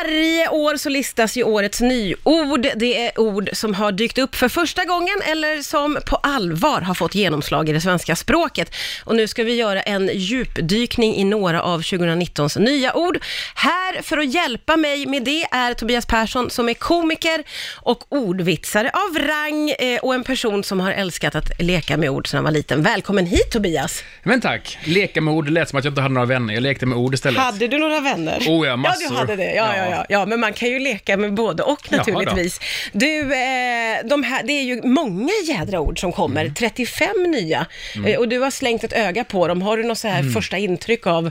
Varje år så listas ju årets nyord. Det är ord som har dykt upp för första gången eller som på allvar har fått genomslag i det svenska språket. Och nu ska vi göra en djupdykning i några av 2019s nya ord. Här för att hjälpa mig med det är Tobias Persson som är komiker och ordvitsare av rang eh, och en person som har älskat att leka med ord sedan han var liten. Välkommen hit Tobias! Men tack. Leka med ord det lät som att jag inte hade några vänner. Jag lekte med ord istället. Hade du några vänner? Oh ja, massor. Ja, du hade det. Ja, ja. Ja, ja. men man kan ju leka med både och Jaha naturligtvis. Du, eh, de här, det är ju många jädra ord som kommer, Mm. 35 nya. Eh, Och du har slängt ett öga på dem. Har du något så här Mm. första intryck av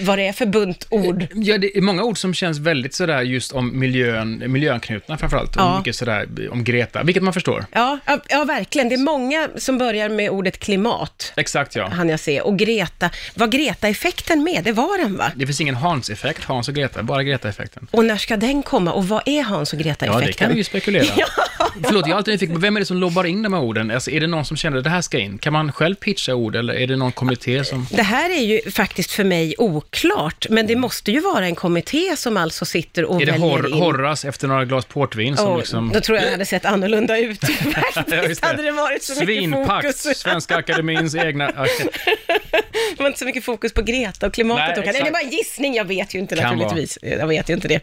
vad det är för bunt ord? Ja, det är många ord som känns väldigt sådär just om miljön, miljöanknutna framförallt. Ja. Och mycket sådär om Greta, vilket man förstår. Ja, ja, ja, verkligen. Det är många som börjar med ordet klimat, Exakt ja. han jag se. Och Greta, var Greta-effekten med? Det var den va? Det finns ingen Hans-effekt, Hans och Greta, bara Greta-effekten. Och när ska den komma? Och vad är Hans och Ja, det kan Greta-effekten? vi ju spekulera. Förlåt, jag är alltid nyfiken på vem är det som lobbar in de här orden? Alltså, är det någon som känner att det här ska in? Kan man själv pitcha ord eller är det någon kommitté som... Det här är ju faktiskt för mig oklart, men det måste ju vara en kommitté som alltså sitter och Är det väljer hor- in. Horras efter några glas portvin som Åh, liksom... Då tror jag det hade sett annorlunda ut Ja, faktiskt. just det. Hade det varit så mycket Svinpax, fokus. Svenska Akademins egna... Okej. Det var inte så mycket fokus på Greta och klimatet. Nej, och Nej, det är exakt. bara en gissning, jag vet ju inte Kan naturligtvis. Jag vet ju inte det.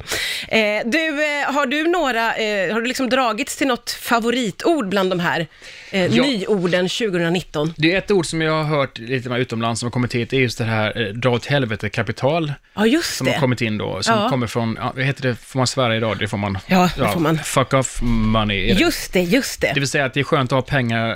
Eh, du, eh, har du några, eh, har du liksom dragits till något favoritord bland de här eh, Ja. nyorden 2019? Det är ett ord som jag har hört lite med utomlands som har kommit hit, det är just det här eh, dra åt helvete-kapital Ja, just som det. har kommit in då, som Ja. kommer från, ja, vad heter det, får man svära idag? Det får man. Ja, det får man. Fuck off money. Är det. Just det, just det. det vill säga att det är skönt att ha pengar, eh,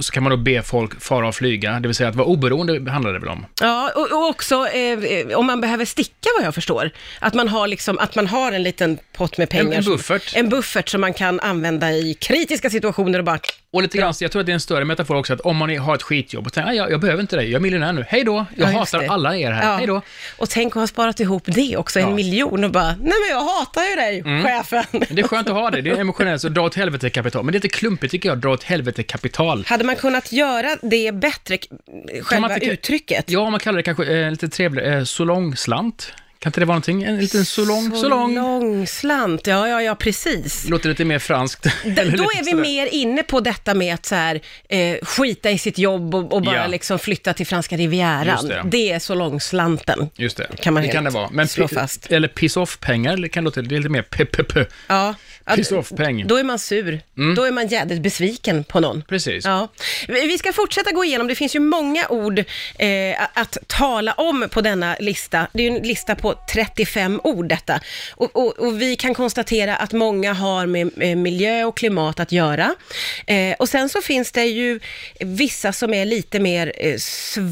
så kan man då be folk fara och flyga, det vill säga att vara oberoende handlar det väl om. Ja, och, och också eh, eh, om man behöver sticka vad jag förstår. Att man har, liksom, att man har en liten pott med pengar. En- en som- buffert. En buffert som man kan använda i kritiska situationer och bara... Och lite grann, så jag tror att det är en större metafor också, att om man är- har ett skitjobb och tänker, "Ah, jag, jag behöver inte dig, jag är miljonär nu, hej då, jag Ja, just hatar det. alla er här, Ja. hej då. Och tänk att ha sparat ihop det också, en Ja. Mm. miljon och bara, nej men jag hatar ju dig, chefen. Men Det är skönt att ha det, det är emotionellt, så dra åt helvete kapital. Men det är lite klumpigt tycker jag, dra åt helvete kapital. Hade man kunnat göra det bättre, k- själva man tycka- uttrycket? Ja, man kallar det kanske eh, lite trevligt, eh, solongslant. Kan inte det vara någonting? En liten solong, solong. Solångslant, ja, ja, ja, precis. Låter lite mer franskt. D- Eller då lite är vi sådär. mer inne på detta med att så här, eh, skita i sitt jobb och, och bara Ja. liksom flytta till franska rivieran. Just det. är så långslanten. Just det, Kan man det kan det helt vara. Men slå pi- fast. Eller piss off-pengar, det kan låta det är lite mer p p p Ja, att- Piss off-peng. Då är man sur. Då är man jädrigt besviken på någon. Precis. Ja. Vi vi ska fortsätta gå igenom, det finns ju många ord eh, att tala om på denna lista. Det är ju en lista på 35 ord detta. Och, och, och vi kan konstatera att många har med eh, miljö och klimat att göra. Eh, och sen så finns det ju vissa som är lite mer eh,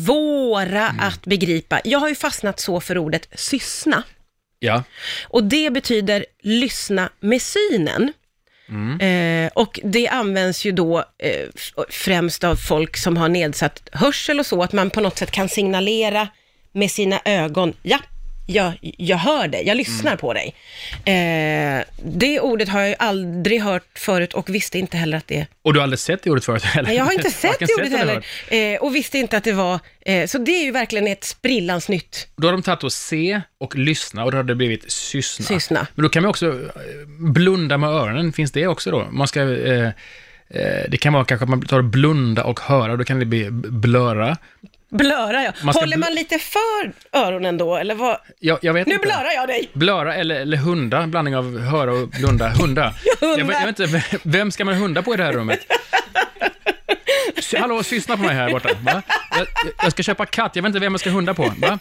svåra att begripa. Jag har ju fastnat så för ordet syssna. Ja. Och det betyder lyssna med synen. Mm. Eh, och det används ju då eh, f- främst av folk som har nedsatt hörsel och så, att man på något sätt kan signalera med sina ögon, ja, jag, jag hör dig, jag Mm. lyssnar på dig. Eh, det ordet har jag ju aldrig hört förut och visste inte heller att det... Och du har aldrig sett det ordet förut heller? Nej, jag har inte sett Varken det ordet eller heller hört. eh, och visste inte att det var... Eh, så det är ju verkligen ett sprillans nytt Då har de tagit och se och lyssna och då har det blivit syssna. Syssna. Men då kan man också eh, blunda med öronen, finns det också då? Man ska, eh, eh, det kan vara kanske att man tar blunda och höra, då kan det bli b- blöra. Blöra, ja. Man ska Håller bl- man lite för öronen då, eller vad? Jag, jag vet Nu inte. blörar jag dig! Blöra eller, eller hunda, en blandning av höra och blunda. Hunda. hunda. Jag, vet, jag vet inte, v- vem ska man hunda på i det här rummet? Sy- Hallå, syssna på mig här borta. Va? Jag, jag ska köpa katt, jag vet inte vem jag ska hunda på. Va?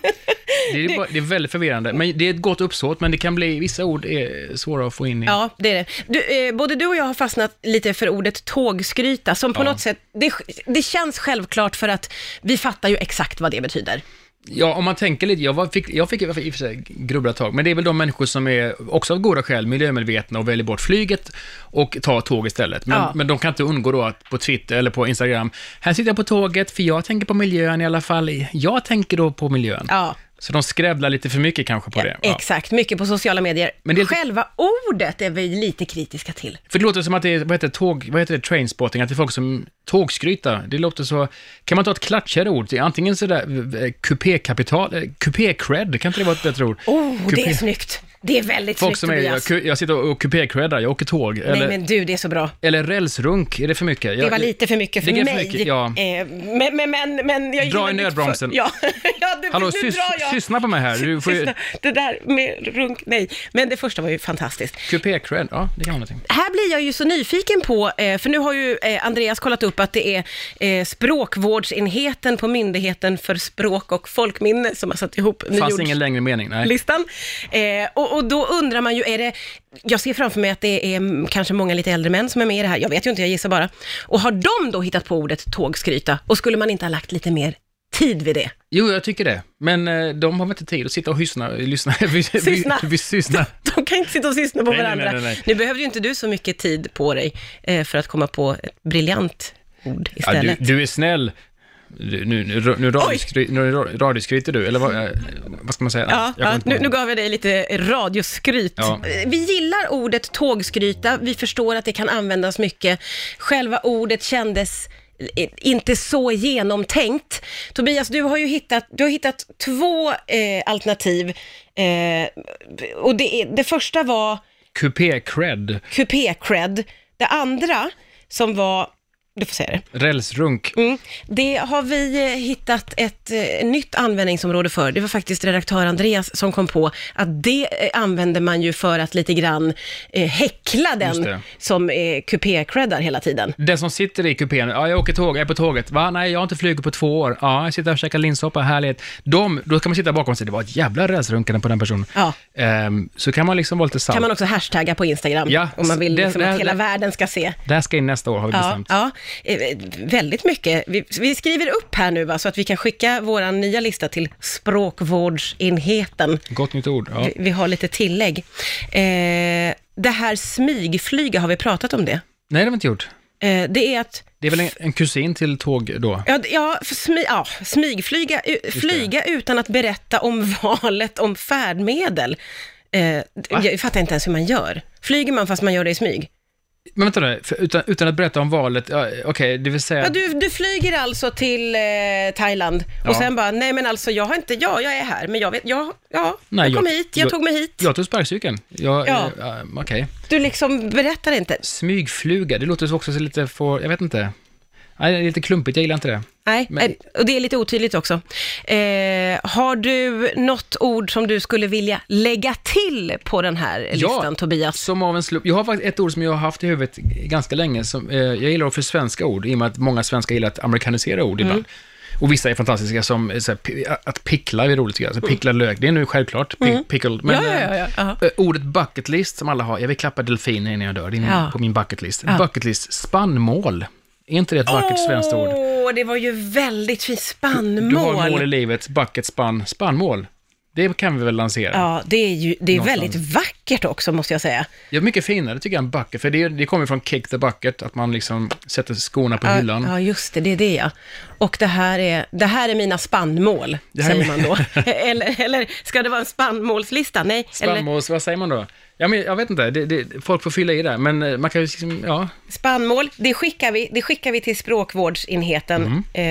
Det, är bara, det är väldigt förvirrande. Men det är ett gott uppsåt, men det kan bli, vissa ord är svåra att få in i. Ja, det är det. Du, eh, både du och jag har fastnat lite för ordet tågskryta, som på Ja. något sätt, det, det känns självklart för att vi fattar ju exakt vad det betyder. Ja, om man tänker lite, jag, var, fick, jag fick i och för sig grubbla ett tag, men det är väl de människor som är, också av goda skäl, miljömedvetna och väljer bort flyget och tar tåg istället. Men, Ja. men de kan inte undgå då att på Twitter eller på Instagram, här sitter jag på tåget för jag tänker på miljön i alla fall, jag tänker då på miljön. Ja, Så de skrävlar lite för mycket kanske på det. Ja. exakt. Mycket på sociala medier. Men det är lite- Själva ordet är vi lite kritiska till. För det låter som att det är, vad heter det, tåg, vad heter det, trainspotting, att det är folk som tågskryta. Det låter så, kan man ta ett klatschigare ord? Det är Antingen sådär, eh, kupékapital, eh, kupé-cred, kan inte det vara ett bättre ord? Oh, det Kupé- är snyggt. Det är väldigt Folk snyggt, som är, jag, Tobias. ku- jag sitter och kupécreddar, jag åker tåg. Eller, Nej, men du, det är så bra. eller rälsrunk, är det för mycket? Det Jag- var lite för mycket för det är mig. för mycket, ja. Eh, men, men, men, men jag gillar Dra i ditt nödbromsen. för- Ja, ja det, Hallå, nu sys, drar jag. syssna på mig här. Du får ju... Lyssna, Det där med runk, nej. Men det första var ju fantastiskt. Kupécred, ja, det kan vara någonting. Här blir jag ju så nyfiken på, eh, för nu har ju eh, Andreas kollat upp att det är eh, språkvårdsenheten på Myndigheten för språk och folkminne som har satt ihop Fanns nyord- ingen längre mening, nej. listan. Eh, och, och då undrar man ju, är det, jag ser framför mig att det är mm, kanske många lite äldre män som är med i det här, jag vet ju inte, jag gissar bara. Och har de då hittat på ordet tågskryta? Och skulle man inte ha lagt lite mer tid vid det? Jo, jag tycker det. Men eh, de har väl inte tid att sitta och hyssna, lyssna, vi, Syssna. vi, vi syssna. De kan inte sitta och syssna på Nej, nej, varandra. nej, nej, nej. Nu behövde ju inte du så mycket tid på dig eh, för att komma på ett briljant ord Ja, istället. du, du är snäll. Du, nu nu, nu, radioskry, nu ra- radioskryter du, eller vad, eh, vad ska man säga? Ja, Jag kommer ja inte på nu, det. nu gav jag dig lite radioskryt. Ja. Vi gillar ordet tågskryta, vi förstår att det kan användas mycket. Själva ordet kändes eh, inte så genomtänkt. Tobias, du har ju hittat, du har hittat två eh, alternativ. Eh, och det, är- det första var Kupé-cred, kupé-cred. Det andra, som var, du får säga det, rälsrunk. Mm. Det har vi eh, hittat ett eh, nytt användningsområde för. Det var faktiskt redaktör Andreas som kom på att det eh, använder man ju för att lite grann eh, häckla Just den det. som eh, kupé-creddar hela tiden. Den som sitter i kupén, ja jag åker tåg, jag är på tåget, va? Nej, jag har inte flugit på två år, ja jag sitter och käkar linssoppa, härligt. De, då kan man sitta bakom och säga, det var ett jävla rälsrunkande på den personen. Ja. Ehm, så kan man liksom vara lite Kan sann. man också hashtagga på Instagram Ja, om man vill det- liksom, det- att hela det- världen ska se. Det här ska in nästa år, har vi Ja, bestämt. ja, eh, väldigt mycket. Vi, vi skriver upp här nu va, så att vi kan skicka vår nya lista till språkvårdsenheten. Gott nytt ord. Ja. Vi, vi har lite tillägg. Eh, det här smygflyga, har vi pratat om det? Nej, det har vi inte gjort. Eh, det är att, Det är väl en, en kusin till tåg då? ja, d- ja, för smy, ja smygflyga, u- flyga utan att berätta om valet om färdmedel. Eh, d- jag fattar inte ens hur man gör. Flyger man fast man gör det i smyg? Men vänta nu, för, utan, utan att berätta om valet, ja, okej, det vill säga... Ja, du, du flyger alltså till eh, Thailand och Ja. sen bara, nej men alltså jag har inte, ja jag är här, men jag vet, ja, ja, Nej, jag kom jag- hit, jag, jag- tog mig hit. Jag tog sparkcykeln. Jag, Ja. ja. eh, okej. Du liksom berättar inte. Smygfluga, det låter också så lite för, jag vet inte. Nej, det är lite klumpigt, jag gillar inte det. Nej, Men- eh, och det är lite otydligt också. Eh, har du något ord som du skulle vilja lägga till på den här listan, Tobias? Som av en slump. Jag har faktiskt ett ord som jag har haft i huvudet ganska länge. Som, eh, jag gillar att för svenska ord, i och med att många svenskar gillar att amerikanisera ord Mm. ibland. Och vissa är fantastiska som, eh, så här, pi- att pickla är roligt tycker jag. Så pickla lök, det är nu självklart. Pi- Pickled. Men Mm. Ja, ja, ja, eh, ja, ja. eh, ordet bucket list som alla har, jag vill klappa delfiner innan jag dör, det är min- Ja. på min bucket list. Bucket list, spannmål. Är inte det ett vackert svenskt ord? Åh, det var ju väldigt fint. Du har mål i Spannmål. livet, bucket, spann, spannmål. Det kan vi väl lansera? Ja, det är ju det är Någonstans. väldigt vackert också, måste jag säga. Ja, mycket finare tycker jag än bucket, för det, det kommer från kick the bucket, att man liksom sätter skorna på Ja, hyllan. ja, just det, det är det ja. Och det här är, det här är mina spannmål, här är säger man min- då. eller, eller ska det vara en spannmålslista? Nej, eller Spannmåls, vad säger man då? Ja, men, jag vet inte, det, det, folk får fylla i där, men eh, man kan ju liksom, ja. spannmål, det skickar vi, det skickar vi till Mm. språkvårdsenheten, eh,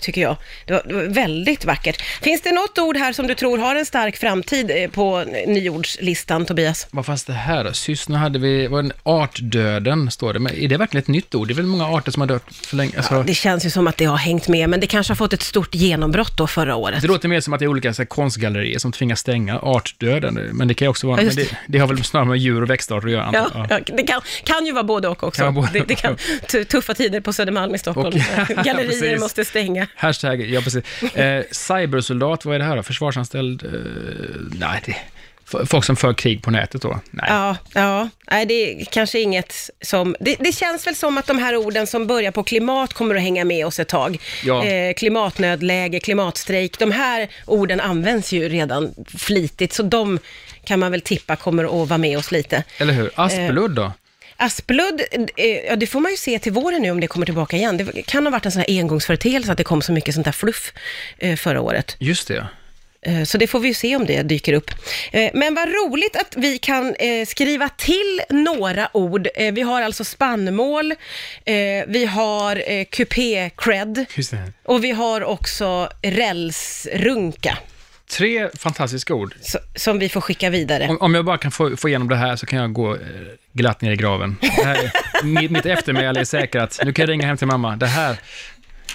tycker jag. Det var, det var väldigt vackert. Finns det något ord här som du tror har en stark framtid eh, på nyordslistan, Tobias? Vad fanns det här då? Syssna hade vi, var en artdöden, står det, men är det verkligen ett nytt ord? Det är väl många arter som har dött för länge, alltså, det... Det känns ju som att det har hängt med, men det kanske har fått ett stort genombrott då förra året. låter mer som att det är olika så här, konstgallerier som tvingas stänga artdöden, men det kan ju också vara, Ja, men just det, det har väl snarare med djur och växtarter att göra, antar Ja, jag. ja. Det kan, kan ju vara både och också. Kan vara både det, det kan, tu- tuffa tider på Södermalm i Stockholm. Och- ja, Gallerier precis. måste stänga. Hashtag, ja precis. Eh, cybersoldat, vad är det här då? Försvarsanställd? Eh, nej, det, f- folk som för krig på nätet då? Nej. Ja, ja. Nej, det är kanske inget som... Det, det känns väl som att de här orden som börjar på klimat kommer att hänga med oss ett tag. Ja. Eh, klimatnödläge, klimatstrejk. De här orden används ju redan flitigt, så de kan man väl tippa kommer att vara med oss lite. Eller hur? Eh. Aspeludd då? Aspludd, eh, ja det får man ju se till våren nu om det kommer tillbaka igen. Det kan ha varit en sån här engångsföreteelse att det kom så mycket sånt där fluff eh, förra året. Just det, ja. Eh, Så det får vi ju se om det dyker upp. Eh, Men vad roligt att vi kan eh, skriva till några ord. Eh, Vi har alltså spannmål, eh, vi har eh, kupé-cred Just det. och vi har också rälsrunka. Tre fantastiska ord. Så, som vi får skicka vidare. Om, om jag bara kan få, få igenom det här så kan jag gå eh, glatt ner i graven. Det här, är- mitt, mitt eftermäle är säkrat. Nu kan jag ringa hem till mamma. Det här,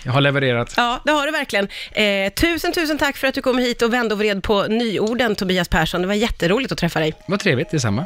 jag har levererat. Ja, det har du verkligen. Eh, tusen, tusen tack för att du kom hit och vände och vred på nyorden, Tobias Persson. Det var jätteroligt att träffa dig. Vad trevligt, detsamma.